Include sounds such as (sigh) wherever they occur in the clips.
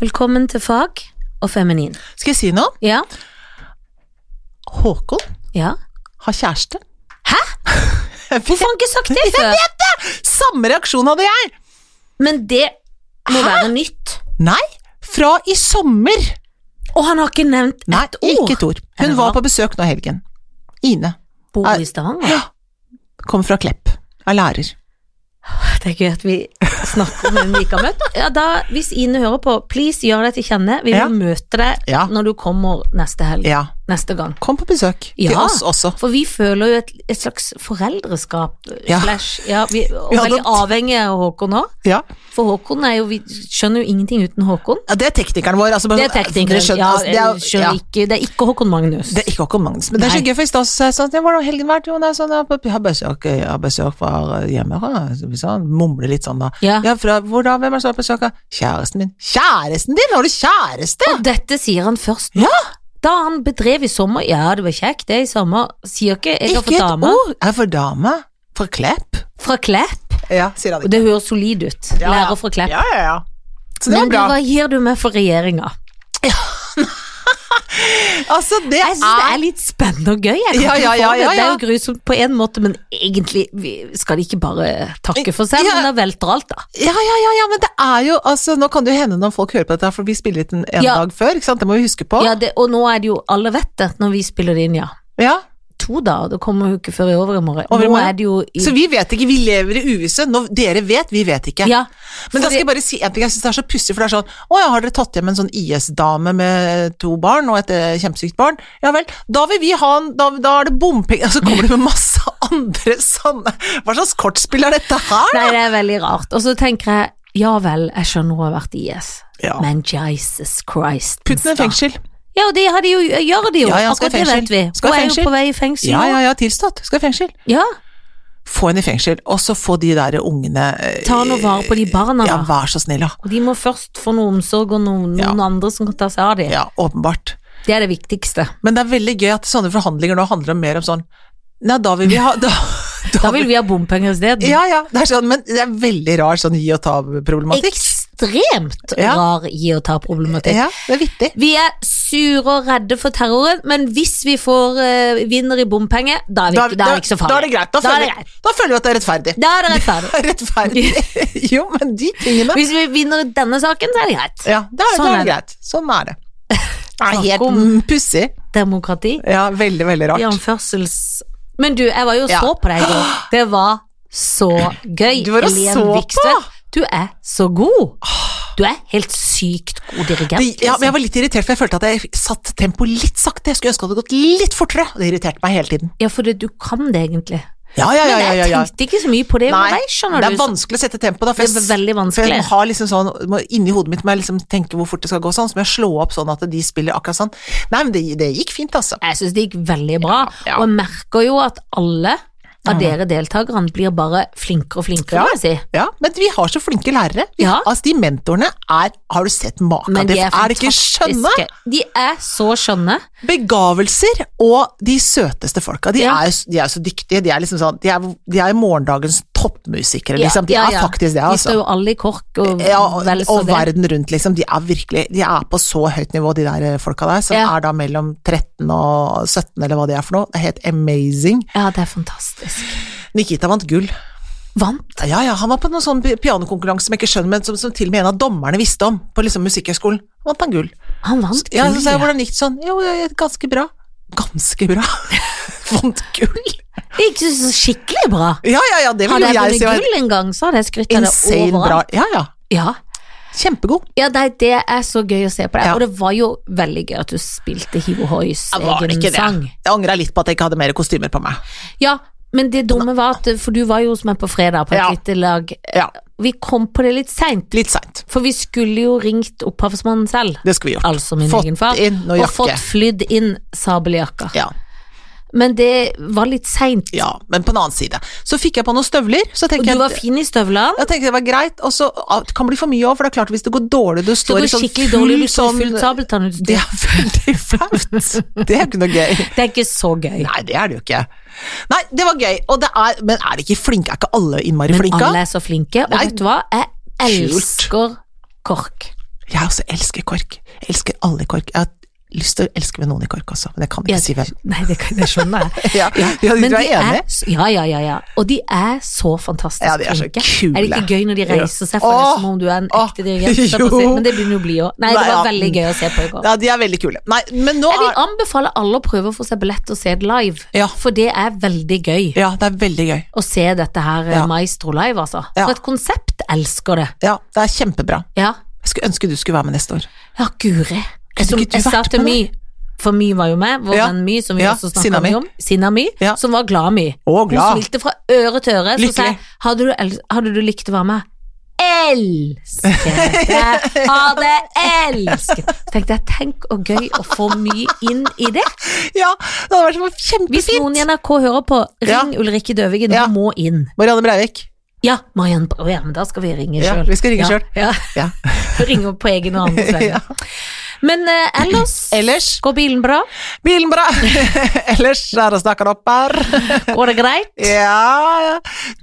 Velkommen til Fag og Feminin. Skal jeg si noe? Ja? Håkon Ja? har kjæreste. (laughs) Hæ? Hvorfor har han ikke sagt det før? Samme reaksjon hadde jeg! Men det må være nytt. Nei, fra i sommer. Og han har ikke nevnt Nei, ett ord. ikke et ord. Hun Ja. var på besøk nå i helgen. Ine. Bor i Stavanger. Ja. Kommer fra Klepp. Er lærer. Det er gøy at vi snakker om en vi ikke har møtt. Ja, da, hvis Ine hører på, please gjør deg til kjenne. Vi vil Ja. møte deg Ja. når du kommer neste helg. Ja. Neste gang. Kom på besøk. Til Ja. oss også. For vi føler jo et, et slags foreldreskap Ja. slash ja, vi, Og Vi hadde- veldig avhengig av Håkon òg. Ja. For Håkon er jo Vi skjønner jo ingenting uten Håkon. ja, det er teknikeren vår. Altså, bare Det er sånn- teknikeren. Dere skjønner, Ja, altså, det er- jeg skjønner ja. ikke Det er ikke Håkon Magnus. Det er ikke Håkon Magnus, men det er så Nei. gøy, for i stad så sa jeg sånn ja, 'Hvordan har helgen vært?' Jo, nei, sånn, jeg har på- jeg har besøk, jeg har besøk fra hjemme, ja», så vi sånn, mumler litt sånn da. Ja. Ja, fra, hvor da? Hvem er det som har besøk? av?» Kjæresten din. Kjæresten din? Har du kjæreste? Og dette sier han først nå. Ja. Da han bedrev i sommer Ja, det var kjekt, det, i sommer. Sier ikke 'jeg har Ikke fått et dame'. ord. Jeg får dame. Fra Klepp. Fra Klepp. Ja, sier han Og det høres solid ut. Ja, ja. Lærer fra Klepp. Ja, ja, ja. Så det var Men du, bra. hva gir du meg for regjeringa? Altså, det Jeg syns det er er litt spennende og gøy. Jeg kan Ja, ikke ja, få ja, det. ja, det er ja. jo grusomt på en måte, men egentlig vi- skal de ikke bare takke for seg, Ja. men da velter alt, da. Ja, ja, ja, ja, men det er jo altså, Nå kan det jo hende når folk hører på dette, her, for vi spiller litt en, en Ja. dag før, ikke sant? Det må vi huske på. Ja, det, og nå er det jo Alle vet det når vi spiller det inn, ja. Ja. To dager, det kommer jo ikke før i overmorgen. Nå Overmorgen? er det jo i Så vi vet ikke, vi lever i uvisse. Nå, dere vet, vi vet ikke. Ja. Men da fordi- skal jeg bare si en ting, jeg synes det er så pussig, for det er sånn Å ja, har dere tatt hjem en sånn IS-dame med to barn og et eh, kjempesykt barn? Ja vel, da vil vi ha en Da, da er det bompenger (laughs) Og så kommer de med masse andre sånne Hva slags kortspill er dette her? Nei, det er veldig rart. Og så tenker jeg ja vel, jeg skjønner hun har vært i IS, Ja. men Jesus Christ Putt den i da. fengsel. Ja, og det har de jo, gjør de jo. Ja, ja, skal i Akkurat det fengsel. vet vi. Skal i Hun er jo fengsel. på vei i fengsel. Ja, nå. ja, ja, tilstått. Skal i fengsel. ja. Få henne i fengsel, og så få de der ungene eh, Ta nå vare på de barna, Ja, da. vær så snill, ja. Og de må først få noe omsorg og noen, Ja. noen andre som kan ta seg av dem. Ja, åpenbart. Det er det viktigste. Men det er veldig gøy at sånne forhandlinger nå handler om mer om sånn Nei, da vil vi ha Da, (laughs) Da vil vi ha bompenger isteden. Ja, ja, det er sånn, men det er veldig rar sånn gi og ta-problematikk. Ekstremt Ja. rar gi og ta-problematikk. Ja, det er vittig. Vi er sure og redde for terroren, men hvis vi får eh, vinner i bompenger, da er, vi, ikke- da er det ikke så farlig. Da er det greit. Da Da, er føler, det vi- da føler vi at det (laughs) er rettferdig. Da er det rettferdig. rettferdig. (laughs) jo, men de tingene Hvis vi vinner i denne saken, så er det greit. Ja, da er, Sånn da er er det det. greit. Sånn (laughs) er det. Det er Snakk helt om- mm, pussig. Demokrati. Ja, veldig, veldig I rart. anførsels... Men du, jeg var jo og Ja. så på deg i går. Det var så gøy. Du var og Helen så på! Vikstvedt, Du er så god. Du er helt sykt god dirigent. Det, ja, men liksom. jeg var litt irritert, for jeg følte at jeg satt tempoet litt sakte. Jeg skulle ønske at det hadde gått litt fortere. og Det irriterte meg hele tiden. liksom. Ja, for det, du kan det egentlig. Ja, ja, ja, Men ja, ja, jeg ja. tenkte ikke så mye på det Nei, underveis, skjønner det du. er vanskelig å sette tempo da. For Det er veldig vanskelig. For jeg har liksom sånn, må- inni hodet mitt må jeg liksom tenke hvor fort det skal gå sånn, så må jeg slå opp sånn at de spiller akkurat sånn. Nei, men det, det gikk fint, altså. Jeg syns det gikk veldig bra, Ja, ja. og jeg merker jo at alle av dere deltakerne blir bare flinkere og flinkere, Ja. må jeg si. Ja, men vi har så flinke lærere. Vi, Ja. Altså, de mentorene er Har du sett maken? Men de er det ikke skjønne? fantastiske. De er så skjønne. Begavelser og de søteste folka. De, Ja. er, jo- de er så dyktige. De er liksom sånn De er, de er morgendagens toppmusikere, Ja, liksom. De ja, er ja. faktisk det, De altså. står jo alle i kork og ja, og, Mm. vel så og det. verden rundt, liksom. De er virkelig De er på så høyt nivå, de der eh, folka der, som Ja. er da mellom 13 og 17, eller hva det er for noe. Det er helt amazing. Ja, det er fantastisk. Nikita vant gull. Vant. Ja, ja, han var på noen sånn pi- pianokonkurranse som jeg ikke skjønner, men som, som til og med en av dommerne visste om, på liksom Musikkhøgskolen. Vant han gull. Han vant Ja, så gull, sa jeg ja. hvordan gikk det sånn? Jo, ja, ja, ganske bra. Ganske (laughs) bra. vant gull. Det gikk så- så skikkelig bra. Ja, ja, ja, det vil Hadde jeg jo jeg si vunnet var gull en gang, så hadde jeg skrytt av det insane bra. overalt. Ja, ja. Ja. Kjempegod. Ja, nei, det er så gøy å se på deg. Ja. Og det var jo veldig gøy at du spilte Hivo Hoys Ja, var det egen ikke det? sang. Jeg angra litt på at jeg ikke hadde mer kostymer på meg. Ja, men det dumme var at For du var jo hos meg på fredag på et Ja. lite lag. Ja, Vi kom på det litt seint, litt seint. for vi skulle jo ringt opphavsmannen selv. Det skulle vi gjort. Altså min fått egen far. inn noe og jakke. fått flydd inn sabeljakka. Ja, Men det var litt seint. ja, men på den annen side. Så fikk jeg på noen støvler, så Og tenker du jeg var fin i støvlene. jeg tenkte det var greit, og så ah, det kan bli for mye òg, for det er klart hvis det går dårlig, du Det står går i sånn skikkelig dårlig ut sånn- fullt Det sabeltannutstyr. er (laughs) veldig flaut. Det er jo ikke noe gøy. Det er ikke så gøy. Nei, det er det jo ikke. Nei, det var gøy, og det er Men er det ikke flinke? Er ikke alle innmari Men flinke? alle er så flinke, og Nei. vet du hva? Jeg Kult. elsker KORK. altså, Jeg også elsker KORK. Jeg elsker alle i KORK. Jeg har lyst til å elske med noen i KORK også, men jeg kan ikke si hvem. Nei, det, kan, det skjønner jeg. (laughs) Ja, ja, du Men er de er, enig? ja, ja, ja, ja. Og de er så fantastisk Ja, de er så flinke. kule. Er det ikke gøy når de reiser seg, for det Åh, er som om du er en åh, ekte dirigent? holdt jeg på å si. jo. Men det begynner jo å bli òg. Nei, det Nei, var ja. veldig gøy å se på i går. Ja, de er veldig kule. Nei, men nå Jeg vil er anbefale alle å prøve å få seg billett og se det live, Ja. for det er veldig gøy Ja, det er veldig gøy. å se dette her eh, Ja. Maestro live, altså. Ja. For et konsept elsker det. Ja, det er kjempebra. Ja, Jeg skulle ønske du skulle være med neste år. ja guri. Kunne Som ikke du jeg sa vært til My, med for My var jo med, vår Ja. venn My, som vi Ja, også Sinna snakka My. mye om, Sinna My, Ja. som var glad My. Å, Hun glad. smilte fra øre til øre. Så Lykkelig. sa jeg, hadde du, el- hadde du likt å være med? Elsket det! Hadde elsket! Så tenkte jeg, tenk og gøy å få mye inn i det. Ja, det hadde vært så Hvis noen i kjempefint. NRK hører på, ring Ja. Ulrikke Døvigen, Ja. hun må inn. Marianne Breivik. Ja, Marianne Bra- ja, men da skal vi ringe Ja, sjøl. vi skal ja, ringe selv. Ja. (laughs) Ja. ringe opp på egen og (laughs) andres vegne. Ja. Men eh, ellers, (clears throat) Ellers? går bilen bra? Bilen bra! Ellers er det snakka opp her. (laughs) Går det greit? Ja, ja.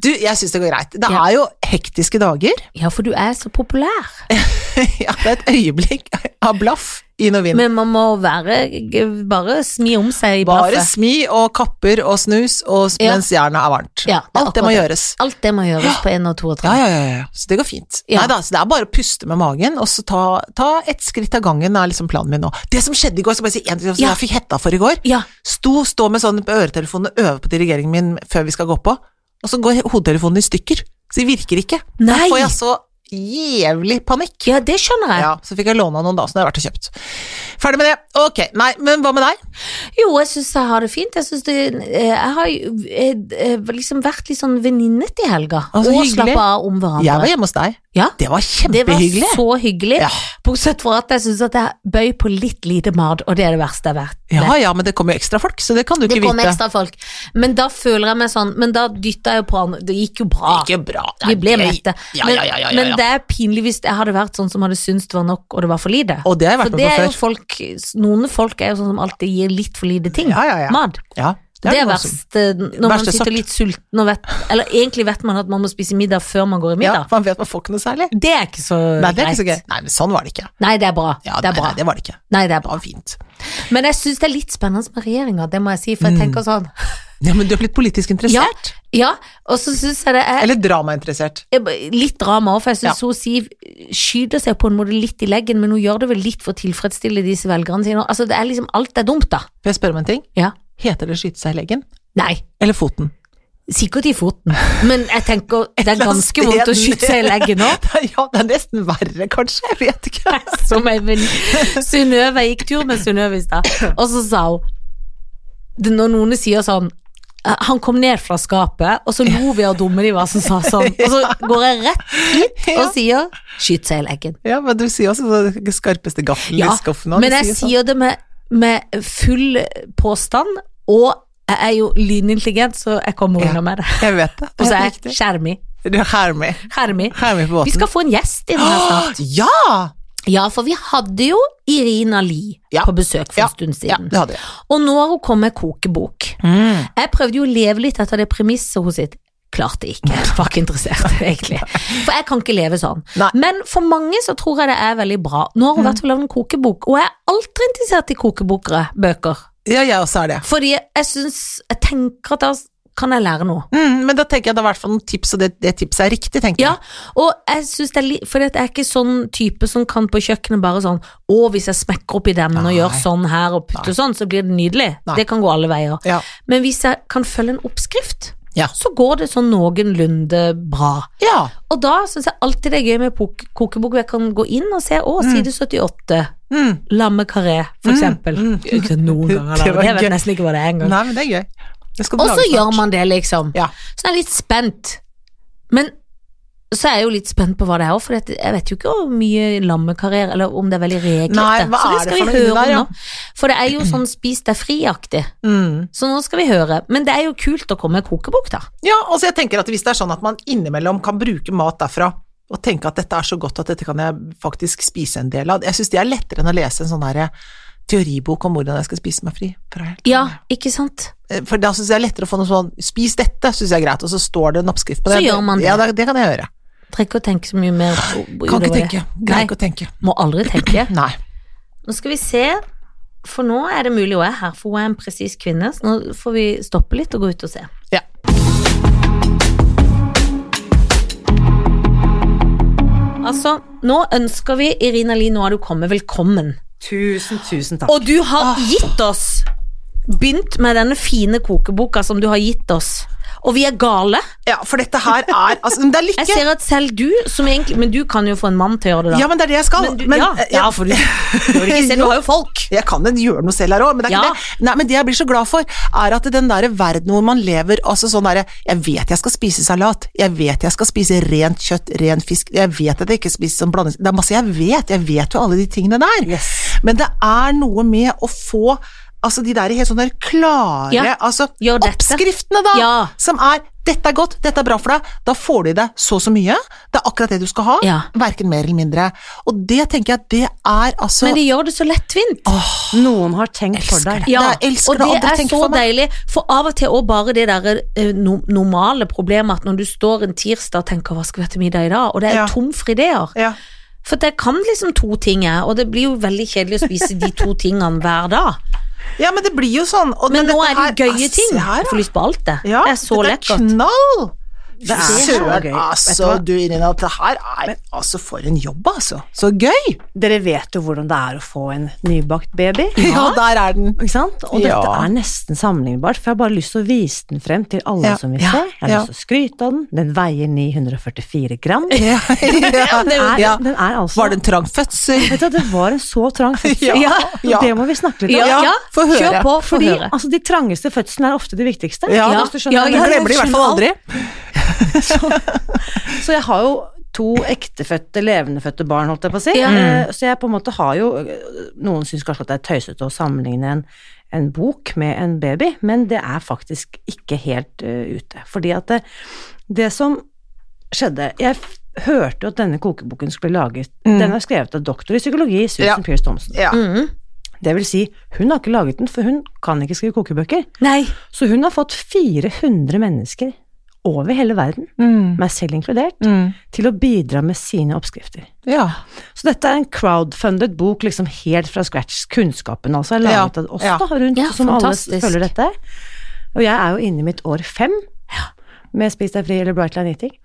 Du, jeg syns det går greit. Det Ja. er jo hektiske dager. (laughs) Ja, for du er så populær. Ja, det er et øyeblikk av blaff i og vind. Men man må være g- bare smi om seg i Bare blaffet. smi og kapper og snus og s- Ja. mens jernet er varmt. Ja, det er Alt det må akkurat gjøres. Alt det må gjøres på 1 og 2 og 3. Ja, ja, ja, ja. Så det går fint. Ja. Neida, så det er bare å puste med magen, og så ta, ta et skritt av gangen, er liksom planen min nå. Det som skjedde i går, skal jeg bare si en ting som Ja. jeg fikk hetta for i går. Ja, Sto, stå med sånn på øretelefonen og øve på dirigeringen min før vi skal gå på, og så går hodetelefonen i stykker. Så de virker ikke. Da Nei. får jeg så jævlig panikk. ja det skjønner jeg. Ja, så fikk jeg låne av noen da, så nå har jeg vært og kjøpt. Ferdig med det. Ok, nei, men hva med deg? Jo, jeg syns jeg har det fint. Jeg, synes det, eh, jeg har jo, eh, eh, liksom vært litt sånn venninnet i helga. Å, så og hyggelig. slappa av om hverandre. Jeg var hjemme hos deg. Ja. Det var Det var kjempehyggelig. så hyggelig. Ja. Bortsett fra at jeg syns at jeg bøy på litt lite mat, og det er det verste jeg har vært. Ja, ja, men det kommer jo ekstra folk, så det kan du Det ikke kom vite. ekstra folk. Men da føler jeg meg sånn Men da dytta jeg jo på han. Det gikk jo bra. Ikke bra. Ah, Vi ble Nei, mette. Ja, Men, ja, ja, ja, ja, men ja. det er pinlig hvis jeg hadde vært sånn som hadde syntes det var nok, og det var for lite. Og det har jeg For vært det med er jo på før. folk Noen folk er jo sånn som alltid gir litt for lite ting. Ja, ja, ja. Mat. Ja, Det er noe som- verst eh, når man verste sitter sort. litt sulten og vet Eller egentlig vet man at man må spise middag før man går i Ja, middag. man vet man får ikke noe særlig. Det er ikke så Nei, det er greit. ikke så gøy. Nei, men sånn var det ikke. Nei, det er bra. Ja, det er nei, bra. Nei, det var det ikke. Nei, det er Det bra. var fint. Men jeg syns det er litt spennende med regjeringa, det må jeg si, for Mm. jeg tenker (laughs) sånn Ja, men du er blitt politisk interessert. Ja, og så syns jeg det er Eller dramainteressert. jeg- litt drama òg, for jeg syns hun Siv skyter seg på en måte litt i leggen, men hun gjør det vel litt for å tilfredsstille disse velgerne sine. Altså, det er liksom alt er dumt, da. Får jeg spørre om en ting? Ja. Heter det skyte seg i leggen? Nei, Eller foten? sikkert i (laughs) foten, men jeg tenker det er eller annet ganske vondt å sted. skyte seg i leggen òg. Nei, (laughs) Ja, det er nesten verre, kanskje. Jeg (laughs) vet ikke. Som ei venninne. Synnøve jeg gikk tur med Synnøve i stad, og så sa hun det- Når noen sier sånn eh, han kom ned fra skapet, og så lo vi av dumme de var som sa sånn. Og så går jeg rett (laughs) hit og sier 'skyt seg i leggen'. Ja, men du sier også det skarpeste gaffelen i skuffen. og du men jeg sånn. sier det med, med full påstand, og jeg er jo lynintelligent, så jeg kommer Ja. unna med (laughs) det. Jeg vet det. Og Det så er er helt jeg riktig. skjermi. Du er hermig. Skjermi. Hermig på båten. Vi skal få en gjest inn her snart. Åh, (gasps) Ja! Ja, for vi hadde jo Irina Li Ja. på besøk for Ja. en stund Ja, siden. det hadde jeg. Og nå har hun kommet med kokebok. Mm. Jeg prøvde jo å leve litt etter det premisset hun sitt. Klarte ikke. Jeg var ikke interessert, (laughs) egentlig. For jeg kan ikke leve sånn. Nei. Men for mange så tror jeg det er veldig bra. Nå har hun vært og lagd en kokebok, og jeg er alltid interessert i kokebokere, bøker. Ja, jeg også er det. Fordi jeg syns Jeg tenker at da kan jeg lære noe. Mm, men da tenker jeg det er i hvert fall noen tips, og det, det tipset er riktig, tenker Ja, og jeg synes det er litt Fordi at jeg er ikke sånn type som kan på kjøkkenet bare sånn Å, hvis jeg smekker opp i den og Nei. gjør sånn her og putter sånn, så blir det nydelig. Nei. Det kan gå alle veier. jeg. Ja. Men hvis jeg kan følge en oppskrift, Ja. så går det sånn noenlunde bra. ja. Og da syns jeg alltid det er gøy med pok- kokebok, hvor jeg kan gå inn og se Å, side 78. Mm. Lamme karé, for eksempel. mm. Det er Ikke noen ganger, Det da. var Jeg gøy. vet nesten ikke hva det er engang. Nei, men det er gøy. Det skal du Og lage så snart. gjør man det, liksom. Ja. Så jeg er litt spent. Men så er jeg jo litt spent på hva det er òg, for jeg vet jo ikke hvor mye lammekarriere, eller om det er veldig reglete. Nei, hva så er det skal for vi noe høre der, ja? om nå. For det er jo sånn spis deg fri-aktig. Mm. Så nå skal vi høre. Men det er jo kult å komme med kokebok, da. Ja, altså jeg tenker at hvis det er sånn at man innimellom kan bruke mat derfra, og tenke at dette er så godt at dette kan jeg faktisk spise en del av, jeg syns det er lettere enn å lese en sånn her teoribok om hvordan jeg skal spise meg fri. For, det er helt- Ja, ikke sant? Eh, for da syns jeg det er lettere å få noe sånn 'spis dette', syns jeg er greit, og så står det en oppskrift på det. Så gjør man det. Ja, det, det kan jeg gjøre. Trenger ikke å tenke så mye mer. Kan ikke utover det. tenke. Nei, Greier ikke å tenke. må aldri tenke. Nei. Nå skal vi se, for nå er det mulig hun er her, for hun er en presis kvinne, så nå får vi stoppe litt og gå ut og se. Ja. Altså, nå ønsker vi Irina Li, nå har du kommet, velkommen. Tusen, tusen takk. Og du Ah. har gitt oss Begynt med denne fine kokeboka som du har gitt oss. Og vi er gale. ja, for dette her er altså, men Det er Jeg lykke. ser at selv du, som egentlig Men du kan jo få en mann til å gjøre det, da. Ja, men det er det jeg skal. Men du, Men, ja, eh, ja, for du, du, vil (laughs) ikke se, du har jo folk. Jeg kan jo gjøre noe selv her òg, men det er Ja. ikke det. Nei, men det jeg blir så glad for, er at den der verden hvor man lever altså sånn derre Jeg vet jeg skal spise salat, jeg vet jeg skal spise rent kjøtt, ren fisk, jeg vet at jeg ikke spiser sånn blandings... Det er masse jeg vet, jeg vet jo alle de tingene der. Yes. Men det er noe med å få altså de der helt sånne der klare Ja, altså, gjør dette. oppskriftene, da, Ja. som er 'dette er godt, dette er bra for deg', da får du i deg så og så mye. Det er akkurat det du skal ha, Ja. verken mer eller mindre. Og det tenker jeg at det er altså Men de gjør det så lettvint. Noen har tenkt for Elsker deg. det. Jeg elsker og det, det andre er tenker så for meg. deilig. For av og til òg bare det derre eh, no normale problemet at når du står en tirsdag og tenker 'hva skal vi ha til middag i dag', og det er Ja. tom for ideer. Ja. For jeg kan liksom to ting, jeg, og det blir jo veldig kjedelig å spise de to tingene hver dag. Ja, men det blir jo sånn. og- Men, nå dette er det her- jo gøye ja, ting. se her, Jeg får lyst på alt, det. Ja, det er så dette er lekkert. knall! Det er så gøy. Vet du Altså, hva? du Irina, det her er altså for en jobb, altså. Så gøy! Dere vet jo hvordan det er å få en nybakt baby. (laughs) Ja, der er den. Ikke sant? Og Ja. dette er nesten sammenlignbart, for jeg har bare lyst til å vise den frem til alle Ja. som vil Ja. se. Jeg har Ja. lyst til å skryte av den. Den veier 944 gram. Den Ja, ja, er, ja. den er altså Var det en trang fødsel? Vet du, hva, det var en så trang (laughs) fødsel. Ja, ja. Og det må vi snakke litt Ja, om. Ja, ja, få høre. kjør på, få Fordi høre. altså, de trangeste fødslene er ofte de viktigste. Ja. hvis du skjønner Ja, hva jeg ja, Jeg mener. glemmer det i hvert fall aldri. Så jeg har jo to ektefødte, levendefødte barn, holdt jeg på å si. Ja. Eh, Så jeg på en måte har jo Noen syns kanskje at det er tøysete å sammenligne en, en bok med en baby, men det er faktisk ikke helt eh, ute. Fordi at det, det som skjedde Jeg f hørte jo at denne kokeboken skulle bli laget. Den er skrevet av doktor i psykologi, Susan Ja. Pierce Thompson. Ja. Mhm. Det vil si, hun har ikke laget den, for hun kan ikke skrive kokebøker. Nei. Så hun har fått 400 mennesker over hele verden, Mm. meg selv inkludert, Mm. til å bidra med sine oppskrifter. Ja. Så dette er en crowdfunded bok liksom helt fra scratch. Kunnskapen altså er laget Ja, av oss ja. da, rundt, Ja, som fantastisk. alle følger dette. Og jeg er jo inne i mitt år fem med Spis deg fri eller Bright Line Eating.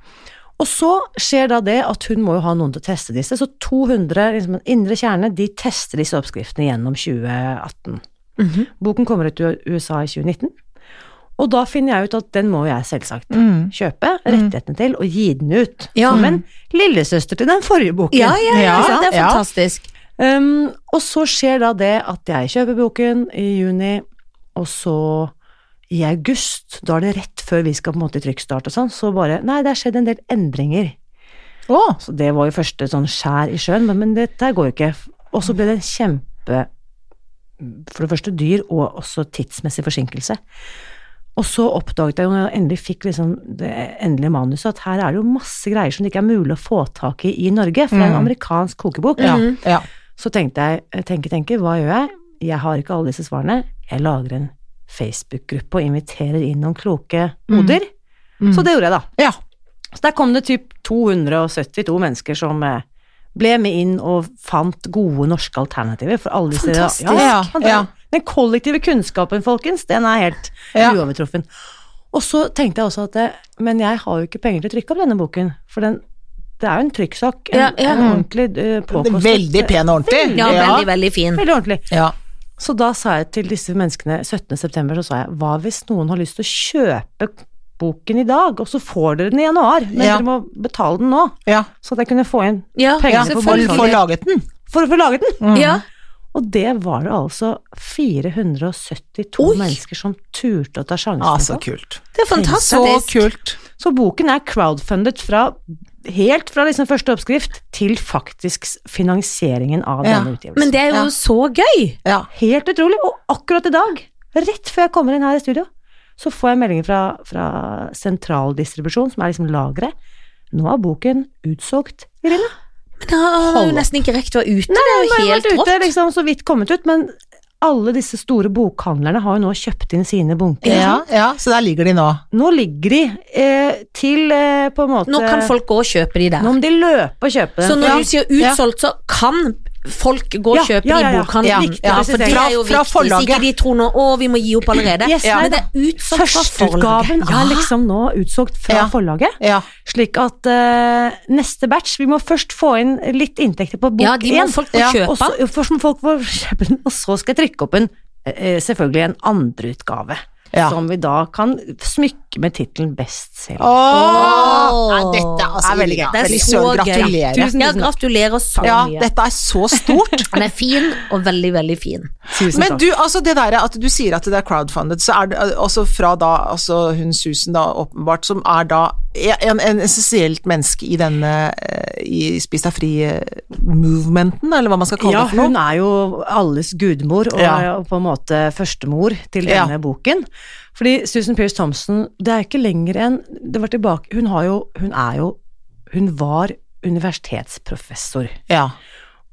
Og så skjer da det at hun må jo ha noen til å teste disse, så 200, liksom en indre kjerne, de tester disse oppskriftene gjennom 2018. Mhm. Boken kommer ut i USA i 2019, og da finner jeg ut at den må jeg selvsagt Mm. kjøpe rettighetene til og gi den ut. Mhm. Ja. Som en lillesøster til den forrige boken. Ja, ja, ja, Ja, det er ja. fantastisk. Um, og så skjer da det at jeg kjøper boken i juni, og så i august, da er det rett før vi skal på en måte i trykkstart og sånn, så bare Nei, det har skjedd en del endringer. Å, Så det var jo første sånn skjær i sjøen, men, men dette går jo ikke. Og så ble det en kjempe For det første dyr, og også tidsmessig forsinkelse. Og så oppdaget jeg jo når jeg endelig fikk liksom det endelige manuset, at her er det jo masse greier som det ikke er mulig å få tak i i Norge, for det er en amerikansk kokebok. ja, ja. Så tenkte jeg, tenke, tenke, hva gjør jeg? Jeg har ikke alle disse svarene. Jeg lager en Facebook-gruppe og inviterer inn noen kloke hoder. Så det gjorde jeg, da. Ja. Mm. Så der kom det typ 272 mennesker som eh, ble med inn og fant gode norske alternativer for alle disse Fantastisk. Ja, ja, Ja. Den kollektive kunnskapen, folkens, den er helt Ja. uovertruffen. Og så tenkte jeg også at eh, Men jeg har jo ikke penger til å trykke opp denne boken, for den, det er jo en trykksak. En, Ja, ja. en ordentlig eh, Det er påkostet Veldig pen og ordentlig. Ja, veldig, veldig fin. Veldig ordentlig. Ja. Så da sa jeg til disse menneskene 17. september, så sa jeg, hva hvis noen har lyst til å kjøpe boken i dag, og så får dere den i januar, men Ja. dere må betale den nå, Ja. så at jeg kunne få inn Ja, Pengene ja. på Få folkelig. få laget den. for å få laget den. Ja. Og det var det altså 472 Oi. mennesker som turte å ta sjansen Ja, Ah, så på. kult. Det er Så fantastisk. kult. Så boken er crowdfundet fra, helt fra liksom første oppskrift til faktisk s- finansieringen av Ja. denne utgivelsen. Men det er jo Ja. så gøy. Ja. Helt utrolig. Og akkurat i dag, rett før jeg kommer inn her i studio, så får jeg meldinger fra, fra sentraldistribusjon, som er liksom lageret. Nå er boken utsolgt, Irina. Men det har jo Hold opp. nesten ikke rekt å være ute. det er Nå har jo jeg helt vært ute, rått. liksom, så vidt kommet ut, men alle disse store bokhandlerne har jo nå kjøpt inn sine bunker. Ja, ja, så der ligger de nå. Nå ligger de eh, til eh, på en måte Nå kan folk gå og kjøpe de der. Nå må de løpe og kjøpe Så den. når Ja. du sier utsolgt, så kan folk gå og Ja, kjøpe ja, ja, de ja. bokhandlene. Ja, Ja, ja, for det fra- er jo fra viktig. Så forlaget. ikke de tror nå å, vi må gi opp allerede. Yes, nei, Men det er utsolgt fra forlaget. Førsteutgaven er liksom nå utsolgt fra Ja. forlaget. Ja. Slik at eh, neste batch Vi må først få inn litt inntekter på bok Ja, de må én, folk få Ja, kjøpe. og så, jo, først må folk få kjøpe den, og så skal jeg trykke opp en eh, selvfølgelig en andre utgave. Ja. Som vi da kan smykke med tittelen Bestselger. Åh! Nei, dette altså, er veldig gøy. Det er Veldig så søren, gøy. gratulerer. Tusen, Ja, tusen takk. gratulerer så Ja, mye. dette er så (laughs) stort. Den er fin, og veldig, veldig fin. Tusen Men takk. du, altså det der at du sier at det er crowdfunded, så er det eh, også fra da altså hun Susan, da åpenbart, som er da en, en essensielt menneske i denne eh, i Spis deg fri-movementen, eller hva man skal kalle ja, det for hun noe. er jo alles gudmor, og Ja. er jo på en måte førstemor til Ja. denne boken. Fordi Susan Pierce Thompson, det er ikke lenger enn Det var tilbake Hun har jo Hun er jo Hun var universitetsprofessor, Ja.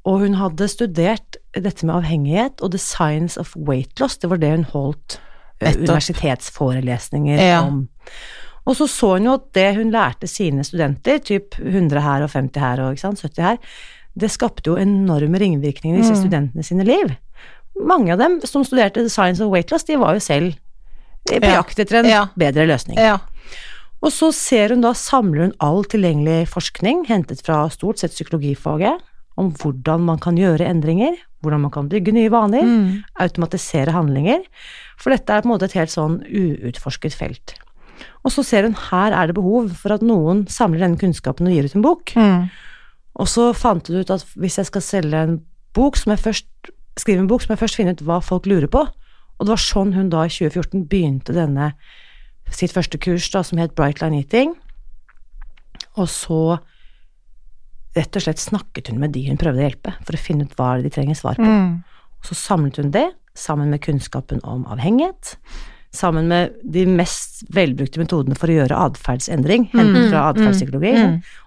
og hun hadde studert dette med avhengighet og the science of weight loss. Det var det hun holdt eh, Nettopp. universitetsforelesninger Ja. om. Og så så hun jo at det hun lærte sine studenter, typ 100 her og 50 her og ikke sant, 70 her, det skapte jo enorme ringvirkninger i disse Mm. studentene sine liv. Mange av dem som studerte the science of weight loss, de var jo selv eh, på Ja. jakt etter en Ja. bedre løsning. ja. Og så ser hun da, samler hun all tilgjengelig forskning, hentet fra stort sett psykologifaget, om hvordan man kan gjøre endringer, hvordan man kan bygge nye vaner, automatisere handlinger. For dette er på en måte et helt sånn uutforsket felt. Og så ser hun her er det behov for at noen samler denne kunnskapen og gir ut en bok. Og så fant hun ut at hvis jeg skal selge en bok, som jeg først, skrive en bok, så må jeg først finne ut hva folk lurer på. Og det var sånn hun da i 2014 begynte denne sitt første kurs da, som het Bright Line Eating. Og så rett og slett snakket hun med de hun prøvde å hjelpe, for å finne ut hva de trenger svar på. Mm. Og så samlet hun det, sammen med kunnskapen om avhengighet, sammen med de mest velbrukte metodene for å gjøre atferdsendring, Mm. hentet fra atferdspsykologi,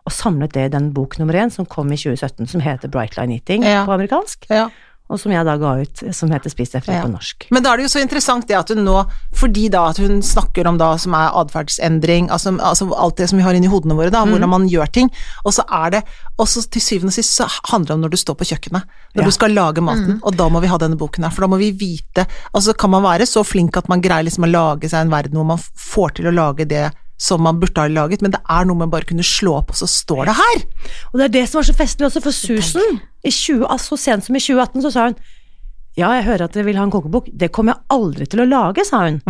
og samlet det i den bok nummer én som kom i 2017, som heter Bright Line Eating Ja. på amerikansk, ja. og som jeg da ga ut, som heter Spis deg fri Ja. på norsk. Men da er det jo så interessant det at hun nå, fordi da at hun snakker om da som er atferdsendring, altså, altså alt det som vi har inni hodene våre, da, hvordan man gjør ting, og så er det Og så til syvende og sist så handler det om når du står på kjøkkenet, når Ja. du skal lage maten, og da må vi ha denne boken her, for da må vi vite Altså kan man være så flink at man greier liksom å lage seg en verden hvor man f- får til å lage det som man burde ha laget, men det er noe med bare å kunne slå opp, og så står det her! Og det er det som var så festlig også, for Susan, i 20, altså, så sent som i 2018, så sa hun Ja, jeg hører at dere vil ha en kokebok. Det kommer jeg aldri til å lage, sa hun.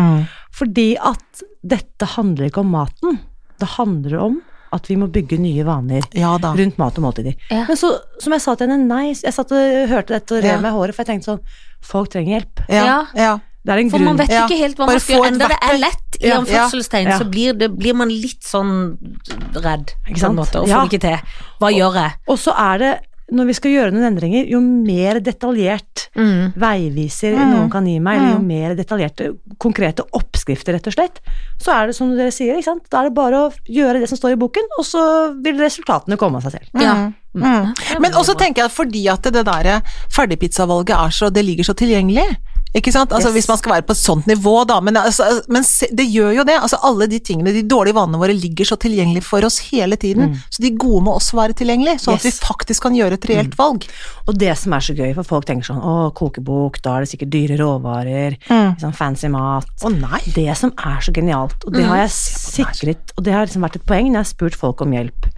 Fordi at dette handler ikke om maten. Det handler om at vi må bygge nye vaner Ja da. rundt mat og måltider. Ja. Men så, som jeg sa til henne, nei. Jeg satt og hørte dette og Ja. rev meg i håret, for jeg tenkte sånn Folk trenger hjelp. Ja. ja. Det er en For man grunn. vet Ja, ikke helt hva bare man skal få gjøre. et Enda det er verktøy. lett, i Ja, anførselstegn, ja. så blir, det, blir man litt sånn redd. Ikke På sant? en måte, og får Ja. det ikke til. Hva gjør jeg? Og så er det, når vi skal gjøre noen endringer, jo mer detaljert Mm. veiviser noen kan gi meg, eller jo mer detaljerte, konkrete oppskrifter, rett og slett, så er det som dere sier, ikke sant? da er det bare å gjøre det som står i boken, og så vil resultatene komme av seg selv. Ja. Mm. er Men veldig også bra. tenker jeg at fordi at det der ferdigpizzavalget er så, det ligger så tilgjengelig. Ikke sant? Altså Yes. Hvis man skal være på et sånt nivå, da. Men, altså, men se, det gjør jo det. Altså Alle de tingene, de dårlige vanene våre ligger så tilgjengelig for oss hele tiden. Så de gode må også være tilgjengelig, sånn at vi Mm. Yes. Mm. faktisk kan gjøre et reelt valg. Og det som er så gøy, for folk tenker sånn, å, kokebok, da er det sikkert dyre råvarer, Mm. sånn fancy mat. Å nei! det som er så genialt, Mm. og det har jeg sikret, og det har liksom vært et poeng når jeg har spurt folk om hjelp.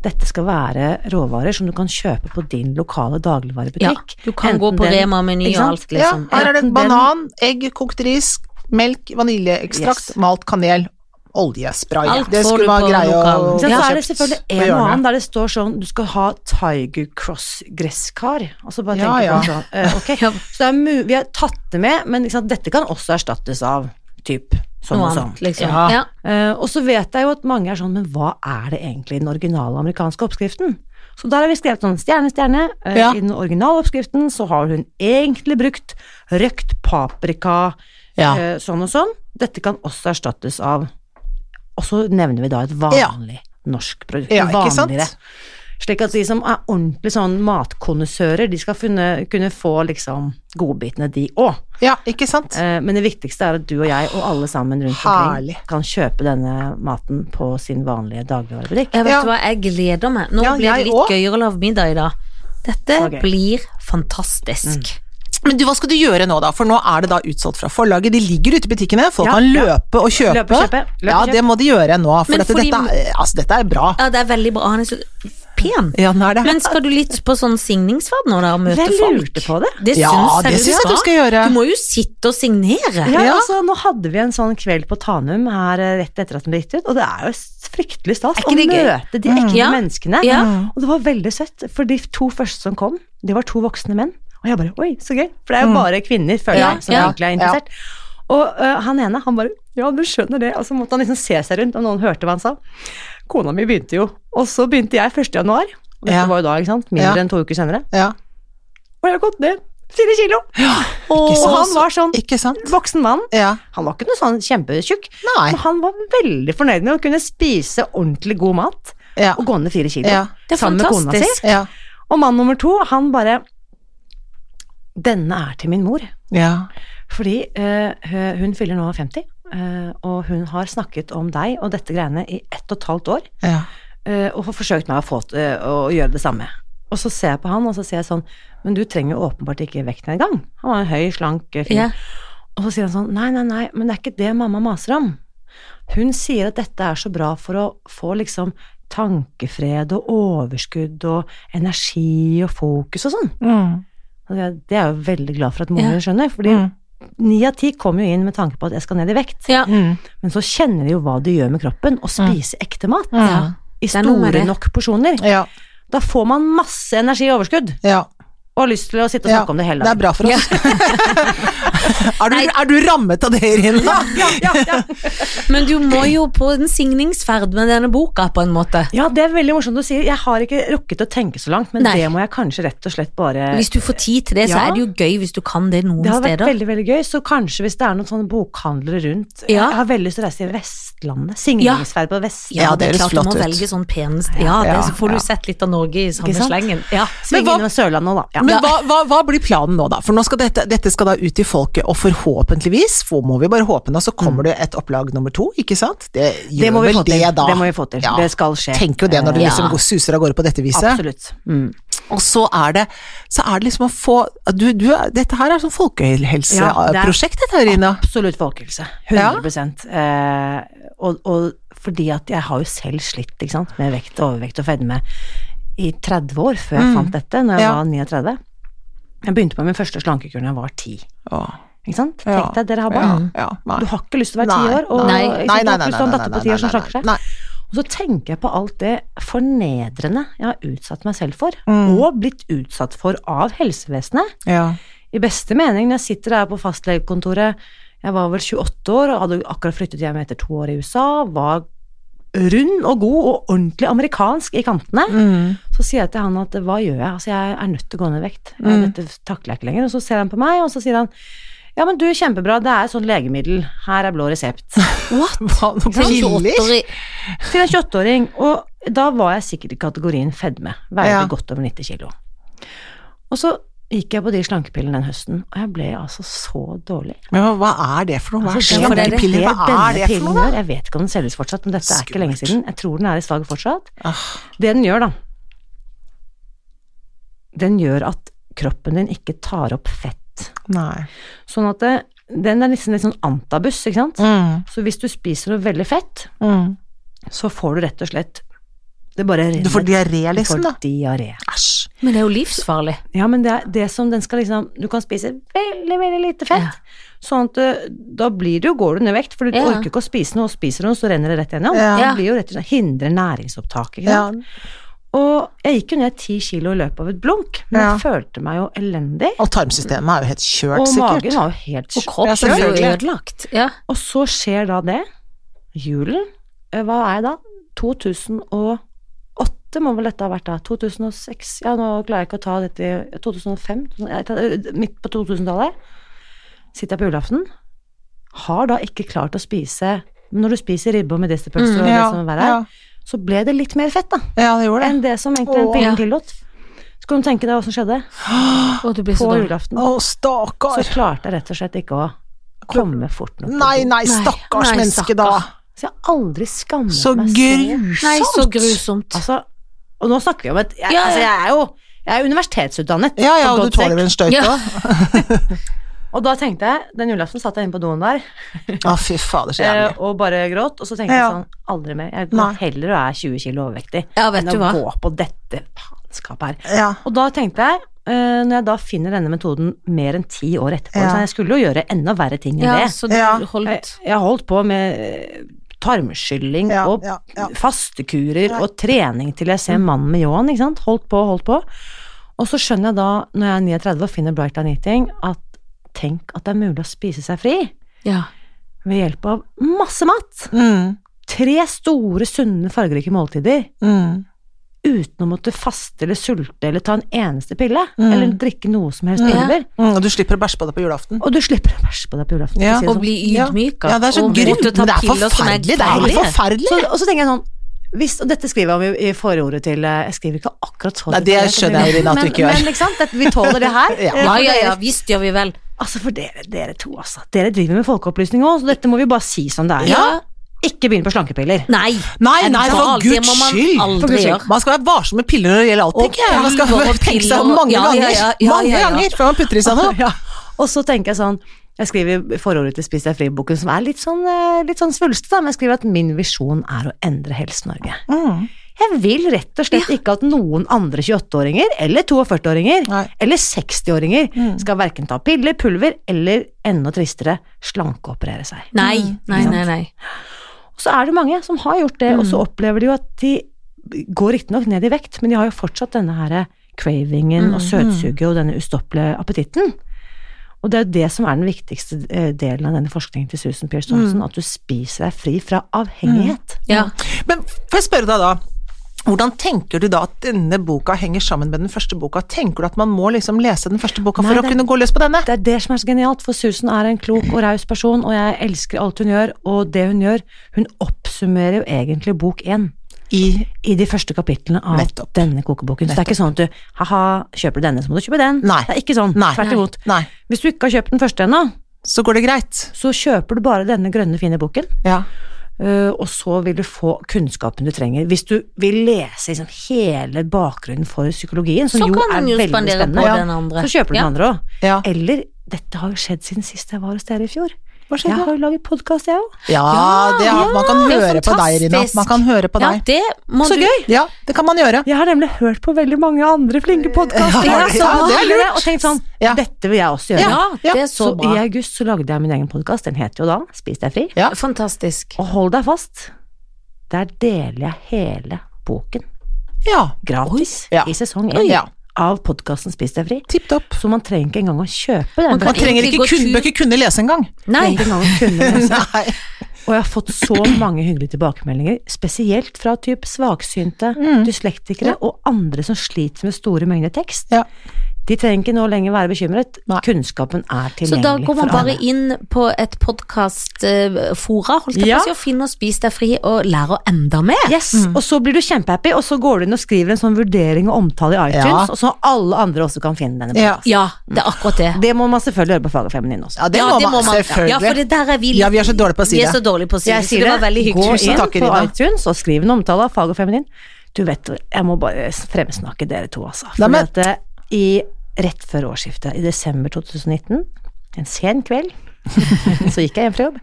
Dette skal være råvarer som du kan kjøpe på din lokale dagligvarebutikk. Ja, du kan gå på Rema, Meny og ikke sant? alt, liksom. Ja, her er det Enten den- banan, egg, kokt ris, melk, vaniljeekstrakt, Yes. malt kanel, oljespray. Alt det får skulle du man på greie å lokalen. få Ikke sant, så er det kjøpt selvfølgelig på en og hjørnet. annen der det står sånn du skal ha Tiger Cross gresskar. Og så bare Ja, (laughs) tenker ja. man sånn eh, Ok, Ja. så det er mu vi har tatt det med, men ikke sant, dette kan også erstattes av typ sånn Noe og sånn. annet, liksom. Ja. Ja. Eh, og så vet jeg jo at mange er sånn, men hva er det egentlig i den originale amerikanske oppskriften? Så der har vi skrevet sånn stjerne, stjerne. Eh, Ja. I den originale oppskriften så har hun egentlig brukt røkt paprika, Ja. eh, sånn og sånn. Dette kan også erstattes av Og så nevner vi da et vanlig norsk produkt. Ja, en ikke sant? vanligere. Slik at de som er ordentlig sånn matkonnissører, de skal funne, kunne få liksom godbitene de òg. Ja, ikke sant? Eh, Men det viktigste er at du og jeg og alle sammen rundt Herlig. omkring kan kjøpe denne maten på sin vanlige dagligvarebutikk. Jeg vet Ja. du hva, jeg gleder meg. Nå Ja, blir det jeg litt også. gøyere å lage middag i dag. Dette Ok. blir fantastisk. Mm. Men du, hva skal du gjøre nå, da? For nå er det da utsolgt fra forlaget. De ligger ute i butikkene, folk Ja, kan ja. løpe og kjøpe. Løpe og kjøpe, løpe og ja, kjøpe. det må de gjøre nå, for Men dette, fordi- dette, er, altså, dette er bra. Ja, det er veldig bra. Han er så pen. Ja, den er det. Men skal du litt på sånn signingsferd nå, da, og møte Jeg folk? lurte på det. Det ja, syns jeg det du syns jeg skal. du skal gjøre. Du må jo sitte og signere. Ja, altså Nå hadde vi en sånn kveld på Tanum her eh, rett etter at den ble gitt ut, og det er jo s- fryktelig stas Er å ikke det gøy? Mm. møte de ekte Ja. menneskene. Ja. Og det var veldig søtt, for de to første som kom, de var to voksne menn. Og jeg bare oi, så gøy, for det er jo bare kvinner, føler Mm. Ja, jeg, som ja. egentlig er interessert. Og eh, han ene, han bare ja, du skjønner det, og så måtte han liksom se seg rundt, og noen hørte hva han sa. Kona mi begynte jo, og så begynte jeg 1. januar, og dette Ja. var jo da, ikke sant, Ja. mindre enn to uker senere, Ja, og jeg har gått ned fire kilo. Åh, Og sant? han var sånn ikke sant? voksen mann, Ja. han var ikke noe sånn kjempetjukk, Nei. men han var veldig fornøyd med å kunne spise ordentlig god mat Ja. og gå ned fire kilo Ja. Det er sammen med kona si. fantastisk. Ja. Og mann nummer to, han bare Denne er til min mor. ja. Fordi eh, hø- hun fyller nå 50, eh, og hun har snakket om deg og dette greiene i ett og et halvt år, ja. eh, og har forsøkt meg å, få, t- eh, å gjøre det samme. Og så ser jeg på han, og så sier jeg sånn Men du trenger jo åpenbart ikke vekten engang. Han var en høy, slank eh, fyr. Ja. Og så sier han sånn Nei, nei, nei, men det er ikke det mamma maser om. Hun sier at dette er så bra for å få liksom tankefred og overskudd og energi og fokus og sånn. Mm. Og det det er jeg jo veldig glad for at moren Ja. min skjønner, fordi Mm. ni av ti kommer jo inn med tanke på at jeg skal ned i vekt. Ja. Mm. Men så kjenner de jo hva de gjør med kroppen, og spiser ekte mat. Ja. I Mm. Det er noe med store det. nok porsjoner. Ja. Da får man masse energi og overskudd, ja. og har lyst til å sitte og Ja, snakke om det hele Det er dagen. bra for oss. (laughs) er, du, er du rammet av det, Irina? Ja, ja, ja. Men du må jo på en signingsferd med denne boka, på en måte. Ja, det er veldig morsomt å si. Jeg har ikke rukket å tenke så langt, men Nei. det må jeg kanskje rett og slett bare Hvis du får tid til det, så Ja. er det jo gøy hvis du kan det noen Det har vært steder. veldig veldig gøy, så kanskje hvis det er noen sånne bokhandlere rundt eh, Ja. Jeg har veldig lyst til å reise til Vestlandet. Signingsferd på Vestlandet. Ja, det er høres klart, flott Du ut. må velge sånn penest. Ja, det, Ja, så får ja. du sett litt av Norge i samme Ikke sant? slengen. Ja. Sving Men hva- innom Sørlandet nå, da. Ja. Men hva, hva, hva blir planen nå, da? For nå skal dette, dette skal da ut til folket, og forhåpentligvis, for må vi bare håpe nå, så kommer det et opplag nummer to, ikke sant? Det gjør Mm. det må vi vel få til. det, da. Det må vi få til. Ja. Det skal skje. Tenker jo det når det Ja. liksom går- suser av gårde på dette viset. Absolutt. Mm. Og så er det, så er det liksom å få du, du, er- Dette her er sånn Ja, det er- folkehelseprosjekt, dette, Irina. Absolutt folkehelse. 100 eh, og, og fordi at jeg har jo selv slitt ikke sant? med vekt, overvekt og fedme i 30 år før jeg fant dette, når jeg Mm. Ja. var 39. Jeg begynte på min første slankekur da jeg var 10. Åh, Ikke sant? Ja. Tenk deg, dere har barn. Ja, Mm. ja, nei. Du har ikke lyst til å være ti år, og nei, ikke nei, sant, nei, du har ikke lyst til å ha en datter på ti år som slakker seg. nei. Og så tenker jeg på alt det fornedrende jeg har utsatt meg selv for, Mm. og blitt utsatt for av helsevesenet. Ja. I beste mening, når jeg sitter her på fastlegekontoret Jeg var vel 28 år og hadde akkurat flyttet hjem etter to år i USA. Var rund og god og ordentlig amerikansk i kantene. Mm. Så sier jeg til han at hva gjør jeg? Altså, jeg er nødt til å gå ned i vekt. Jeg- Mm. Dette takler jeg ikke lenger. Og så ser han på meg, og så sier han ja, men du, kjempebra, det er sånn legemiddel. Her er blå resept. (laughs) What? (laughs) Hva, noen Det er jo Sånn 28 piller? Sånn år i- Til en 28-åring, og da var jeg sikkert i kategorien fedme. Veide Ja. godt over 90 kilo. Og så gikk jeg på de slankepillene den høsten, og jeg ble altså så dårlig. Men hva- hva er det for noe? Hva er Altså, det er for dere. slankepiller? Hva er denne det for pillen noe? gjør, Jeg vet ikke om den selges fortsatt, men dette er ikke lenge Skummelt. siden. Jeg tror den er i salg fortsatt. Ah, Det den gjør, da Den gjør at kroppen din ikke tar opp fett. nei. Sånn at det, den er liksom litt sånn antabus, ikke sant? Mm, Så hvis du spiser noe veldig fett, mm. så får du rett og slett Det bare renner. Du får diaré, liksom, da. får diaré. Æsj. Men det er jo livsfarlig. Ja, men det er det som den skal liksom Du kan spise veldig, veldig lite fett. Sånn at eh, da blir det jo, går du ned i vekt, for du Ja. orker ikke å spise noe, og spiser noe, så renner det rett gjennom. Ja. Det blir jo rett og slett hindrer næringsopptaket. ikke sant? Og jeg gikk jo ned ti kilo i løpet av et blunk, men Ja. jeg følte meg jo elendig. Og tarmsystemet er jo helt kjørt, Og sikkert. magen var jo helt Og kroppen Ja, blir jo selvfølgelig. ødelagt. Ja. Og så skjer da det. Julen. eh, Hva er jeg da? 2008 må vel dette ha vært da. 2006. Ja, nå klarer jeg ikke å ta dette i 2005. Jeg tar- eh, Midt på 2000-tallet. Sitter jeg på julaften. Har da ikke klart å spise Når du spiser ribbe og medisterpølser Mm, og det Ja, som er verre, ja. så ble det litt mer fett da, Ja, det gjorde det. enn det som egentlig Åh. den Ja. pillen tillot. Så kan du tenke deg hva som skjedde Å, du blir så på dårlig. julaften. Å, Så stakkar. klarte jeg rett og slett ikke å komme fort nok. på Nei, do. Nei, nei, stakkars nei, stakkar. menneske, da. Så jeg har aldri skammet Så meg Nei, så grusomt. grusomt. Altså, og nå snakker vi om et Ja, jeg, ja. altså, jeg er jo jeg er universitetsutdannet. Ja, ja, for og God's du tåler en støyt sake. Ja. da Og da tenkte jeg, den julaften satt jeg inne på doen der Å, fy fader, så eh, jævlig. og bare gråt, og så tenkte Ja. jeg sånn, aldri mer. Jeg Nei. går heller og er 20 kilo overvektig Ja, vet enn du hva. å gå på dette faenskapet her. Ja. Og da tenkte jeg, eh, når jeg da finner denne metoden mer enn ti år etterpå, Ja. så jeg skulle jo gjøre enda verre ting enn Ja, det. Eh, så du Ja. Jeg, holdt jeg holdt på med eh, tarmskylling Ja, og ja, ja. fastekurer Ja. og trening til jeg Mm. ser mannen med ljåen, ikke sant. Holdt på, holdt på. Og så skjønner jeg da, når jeg er 39 og finner Bright Line Eating, at tenk at det er mulig å spise seg fri Ja. ved hjelp av masse mat. Mm, Tre store, sunne, fargerike måltider. mm, Uten å måtte faste eller sulte eller ta en eneste pille. Mm. Eller drikke noe som helst Mm. piller. mm. Og du slipper å bæsje på deg på julaften. Og du slipper å bæsje på deg på julaften. Ja. for å si det Og sånn. bli Ja. ydmyka. Ja, det er så og grumt. måtte ta Det er piller som forferdelig. Det er helt farlige. forferdelig. Så, og så tenker jeg sånn hvis, Og dette skriver jeg om i, i forordet til eh, Jeg skriver ikke akkurat så Nei, det skjønner jeg, Irina, at du ikke gjør. Men, men ikke sant, dette, vi tåler det her. Ja. Eh, Ja, for ja, ja, dere- visst gjør vi vel. Altså for dere, dere to, altså. Dere driver med folkeopplysning òg, så dette må vi bare si som det er. Ja. Ikke begynn på slankepiller. Nei. Nei, Er nei, det for galt? Det guds må man skyld! aldri For Guds skyld. gjøre. Man skal være varsom med piller når det gjelder alt, Og tenker jeg. Man piller skal og (laughs) tenke seg om piller og- mange ja, ja, ganger. ja, ja, mange ja, ja. ganger før man putter (laughs) i seg noe. Ja. Og så tenker jeg sånn Jeg skriver i forordet til Spis deg fri-boken, som er litt sånn, eh, litt sånn svulstet, da, men jeg skriver at min visjon er å endre Helse-Norge. Mm. Jeg vil rett og slett ikke at noen andre 28-åringer, eller 42-åringer, Nei. eller 60-åringer skal verken ta piller, pulver eller enda tristere slankeoperere seg. Nei, nei, sant? nei. nei. Og så er det mange som har gjort det, og så opplever de jo at de går riktignok ned i vekt, men de har jo fortsatt denne her cravingen og søtsuget og denne ustoppelige appetitten. Og det er jo det som er den viktigste eh, delen av denne forskningen til Susan Pierce Johnson, at du spiser deg fri fra avhengighet. Mm. Ja. Men får jeg spørre deg da, hvordan tenker du da at denne boka henger sammen med den første boka? Tenker du at man må liksom lese den første boka Nei, for å det- kunne gå løs på denne? Det er det som er så genialt, for Susan er en klok og raus person, og jeg elsker alt hun gjør, og det hun gjør, hun oppsummerer jo egentlig bok én I i de første kapitlene av Nettopp. denne kokeboken. Så det er ikke sånn at du haha, kjøper du denne, så må du kjøpe den. Nei. Det er ikke sånn. Nei. Tvert imot. Nei, Hvis du ikke har kjøpt den første ennå, så går det greit. så kjøper du bare denne grønne, fine boken, Ja. øh, og så vil du få kunnskapen du trenger. Hvis du vil lese liksom hele bakgrunnen for psykologien, som Så jo kan er hun jo veldig spandere spennende, på Ja. den andre. så kjøper du Ja. den andre òg. Ja. Eller dette har jo skjedd siden sist jeg var hos dere i fjor. Hva Jeg skjedde? har jo laget podkast, jeg òg. Ja, det har, man kan ja, det er høre på deg, Irina. fantastisk. Man kan høre på Ja, deg. det må Så du gøy! Ja, det kan man gjøre. Jeg har nemlig hørt på veldig mange andre flinke podkaster. Ja, ja, jeg, så det er mange, lurt. Og tenkt sånn, Ja. dette vil jeg også gjøre. Ja, Ja. det er så så i bra. august så lagde jeg min egen podkast, den heter jo da Spis deg fri. Ja. Fantastisk. Og hold deg fast, der deler jeg hele boken Ja. gratis Ja. i sesong Ja. 1 av podkasten Spis deg fri. Tipp topp. Så man trenger ikke engang å kjøpe den. Man Man kan trenger egentlig ikke gå kun, tur- bør ikke kunne lese engang. (laughs) Nei. Trenger ikke engang å (laughs) kunne lese. Nei. Og jeg har fått så mange hyggelige tilbakemeldinger, spesielt fra typ svaksynte, Mm. dyslektikere og andre som sliter med store mengder tekst. Ja. De trenger ikke nå lenger være bekymret. Nei. Kunnskapen er Så tilgjengelig da går man for bare alle. inn på et podkastfora, holdt jeg Ja. på å si, og finner Spis deg fri og lærer enda mer. Yes, Mm. Og så blir du kjempehappy, og så går du inn og skriver en sånn vurdering og omtale i Ja. iTunes, og så alle andre også kan finne denne. Ja. Ja, det er akkurat det. Det må man selvfølgelig gjøre på Faget Feminin også. ja, det må man selvfølgelig. Ja, for det der er vi litt- Ja, vi er så dårlige på å si vi er det. så dårlige på å si det. Jeg Så sier det var veldig gå hyggelig. Tusen inn takk, på Irina. iTunes og skriv en omtale av Fag og Feminin. Du vet, jeg må bare fremsnakke dere to, altså. Nei, For men- at eh, i, rett før årsskiftet, i desember 2019, en sen kveld, (laughs) så gikk jeg hjem fra jobb.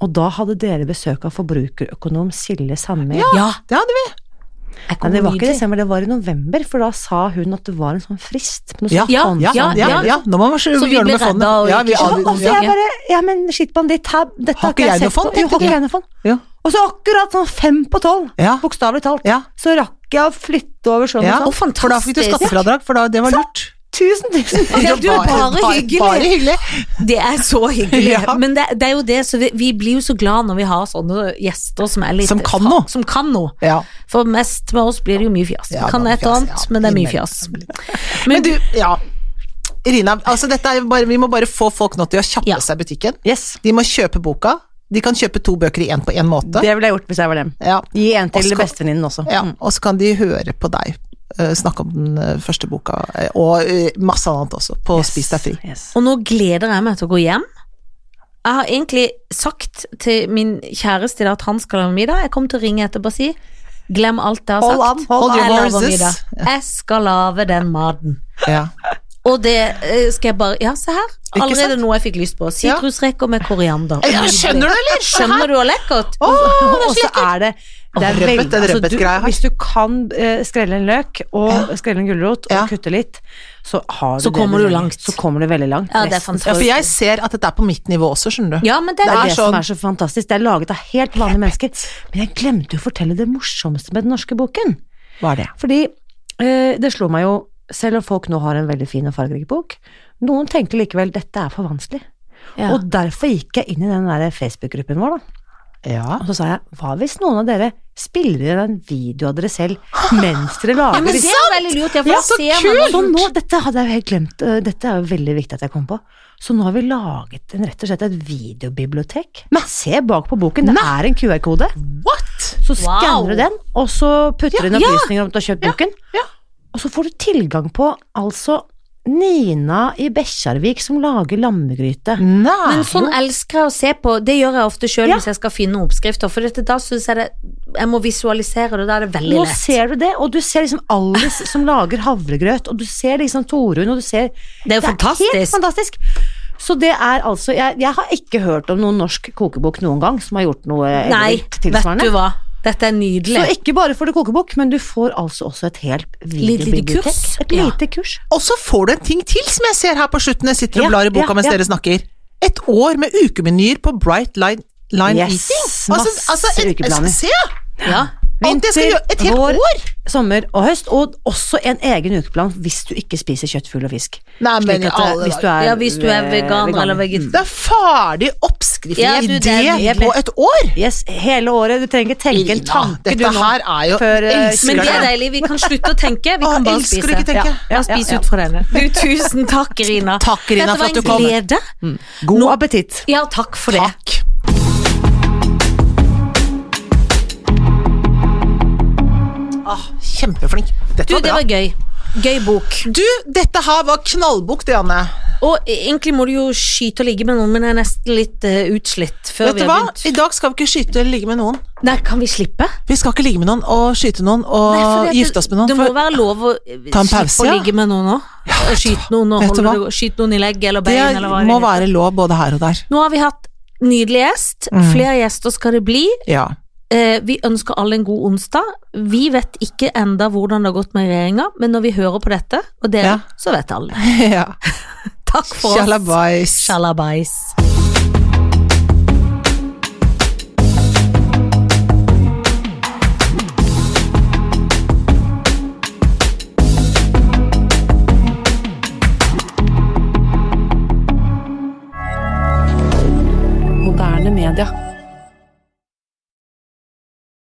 Og da hadde dere besøk av forbrukerøkonom Silje Sandmyr. Ja, Det hadde vi. jeg Nei, kom det var ikke i nydelig. desember, det var i november, for da sa hun at det var en sånn frist. på noe Ja, sånt ja, fond- ja, ja, ja, ja. Nå må man Så vi gjøre ble noe med fondet. redda og Ja, vi, ikke- avgjør- Og så ja. Ja. jeg bare, ja, men skittbanditt, her, Har dette har ikke ikke jeg jeg noe sett fond, på. Jo, tenkte har ikke jeg. jeg noe fond? Ja. Og så akkurat sånn fem på tolv, Ja. bokstavelig talt, Ja. så rakk jeg å flytte over sånn Ja, og sånn. for da fikk du fantastisk. skattefradrag, for da, det var lurt. Tusen, (laughs) tusen takk. Ja, du er bare hyggelig. Bare hyggelig. Det er så (laughs) hyggelig. Ja. Men det, det er jo det, så vi, vi blir jo så glad når vi har sånne gjester som er litt Som kan noe. Som kan noe. Ja. For mest med oss blir det jo mye fjas. Ja, kan det er et fjas, og annet, ja. men det er mye Innimellom. fjas. (laughs) Men du, ja. Irina, altså dette er jo bare, vi må bare få folk nå til å kjappe Ja. seg i butikken. Yes. De må kjøpe boka. De kan kjøpe to bøker i én på én måte. Det ville jeg gjort hvis jeg var dem. ja. Gi en Og til skal- bestevenninnen også. Mm. Ja, og så kan de høre på deg eh, snakke om den eh, første boka, eh, og eh, masse annet også, på Spis deg fri. Yes. Og nå gleder jeg meg til å gå hjem. Jeg har egentlig sagt til min kjæreste i dag at han skal ha middag. Jeg kommer til å ringe etterpå og si glem alt jeg har Hold sagt. an, hold Jeg your lager horses. middag. Jeg skal lage den maten. Ja. Og det eh, skal jeg bare Ja, se her. Ikke Allerede sant? noe jeg fikk lyst på. Sitrusreker med koriander. Ja, skjønner du, eller? Skjønner du hvor lekkert? Og så er det det er Åh, rødbet, veldig- den altså, du, rødbetgreia jeg har. Hvis du kan eh, skrelle en løk og skrelle en gulrot og Ja. kutte litt, så har du Så det kommer du trenger. langt. Så kommer du veldig langt. Ja, det er Resten- fantastisk. ja, for jeg ser at dette er på mitt nivå også, skjønner du. Ja, men det, Det er det sånn- som er så fantastisk. Det er laget av helt vanlige mennesker. Men jeg glemte jo å fortelle det morsomste med den norske boken. Hva er det? Fordi eh, det slo meg jo, selv om folk nå har en veldig fin og fargerik bok, noen tenkte likevel dette er for vanskelig. Ja. Og derfor gikk jeg inn i den der Facebook-gruppen vår, da. Ja. Og så sa jeg, hva hvis noen av dere spiller inn en video av dere selv mens (laughs) dere lager men det er veldig lurt. Jeg får Ja, se så man- kult! Så nå, dette hadde jeg jo helt glemt. eh, Dette er jo veldig viktig at jeg kom på. Så nå har vi laget en, rett og slett et videobibliotek. Se bak på boken, det er en QR-kode. What? Så Wow. skanner du den, og så putter du inn ja. opplysninger om at du har kjøpt boken. ja. Og så får du tilgang på altså Nina i Bekkjarvik som lager lammegryte. Nei. Men sånn elsker jeg å se på. Det gjør jeg ofte sjøl Ja. hvis jeg skal finne oppskrifter. For dette, da syns jeg det Jeg må visualisere det, da er det veldig Nå lett. ser du det, og du ser liksom Alice som lager havregrøt, og du ser liksom Torunn, og du ser Det er jo helt fantastisk. fantastisk. Så det er altså jeg, jeg har ikke hørt om noen norsk kokebok noen gang som har gjort noe eh, Nei, litt vet du tilsvarende. hva. Dette er Så nydelig. ikke bare får du kokebok, men du får altså også et helt lite videobibliotek. kurs. Et Ja. lite kurs. Og så får du en ting til som jeg ser her på slutten. Jeg sitter og Ja, blar i boka ja, mens ja. dere snakker. Et år med ukemenyer på Bright Line, line Yes, Eating. Altså, masse ukeplaner. Se! Ja. Alt jeg skal gjøre, et helt vår, år! sommer og høst, og også en egen ukeplan hvis du ikke spiser kjøtt, fugl og fisk. Nei, men Slik at, i alle eh, hvis du dager. er, ja, hvis du er eh, veganer eller vegetar. Det er ferdig oppskrift Mm. Ja, du, idé det er mye på mer. et år! Yes, hele året. Du trenger ikke tenke en Irina, tanke, du dette nå. her er jo før, eh, elsker Men det er det. deilig. Vi kan slutte å tenke. Vi Å, kan bare spise. elsker å ikke tenke. Ja, ja, spis ut fra denne. Du, tusen takk, Irina. Takk, Dette Irina, for var at du en kom. glede. God appetitt. Ja, takk for det. Takk. Ah, kjempeflink. Dette Du, var det bra. var gøy. Gøy bok. Du, dette her var knallbok, det, Anne. Og e, egentlig må du jo skyte og ligge med noen, men jeg er nesten litt eh, utslitt før Vet vi du har hva? begynt. I dag skal vi ikke skyte eller ligge med noen. Nei, kan vi slippe? Vi skal ikke ligge med noen og skyte noen og Nei, fordi at gifte oss med noen. Det må for være lov å eh, Ta en pause, slippe å ja. ligge med noen òg. Og skyte noen, og Vet du holde, hva? det- skyte noen i legg eller bein. eller hva det det må heter. være lov både her og der. Nå har vi hatt nydelig gjest. Mm. Flere gjester skal det bli. (laughs) Ja. Eh, vi ønsker alle en god onsdag. Vi vet ikke enda hvordan det har gått med regjeringa, men når vi hører på dette, og dere, Ja. så vet alle. ja. Takk for oss. Sjalabais. Shalabais. Moderne media.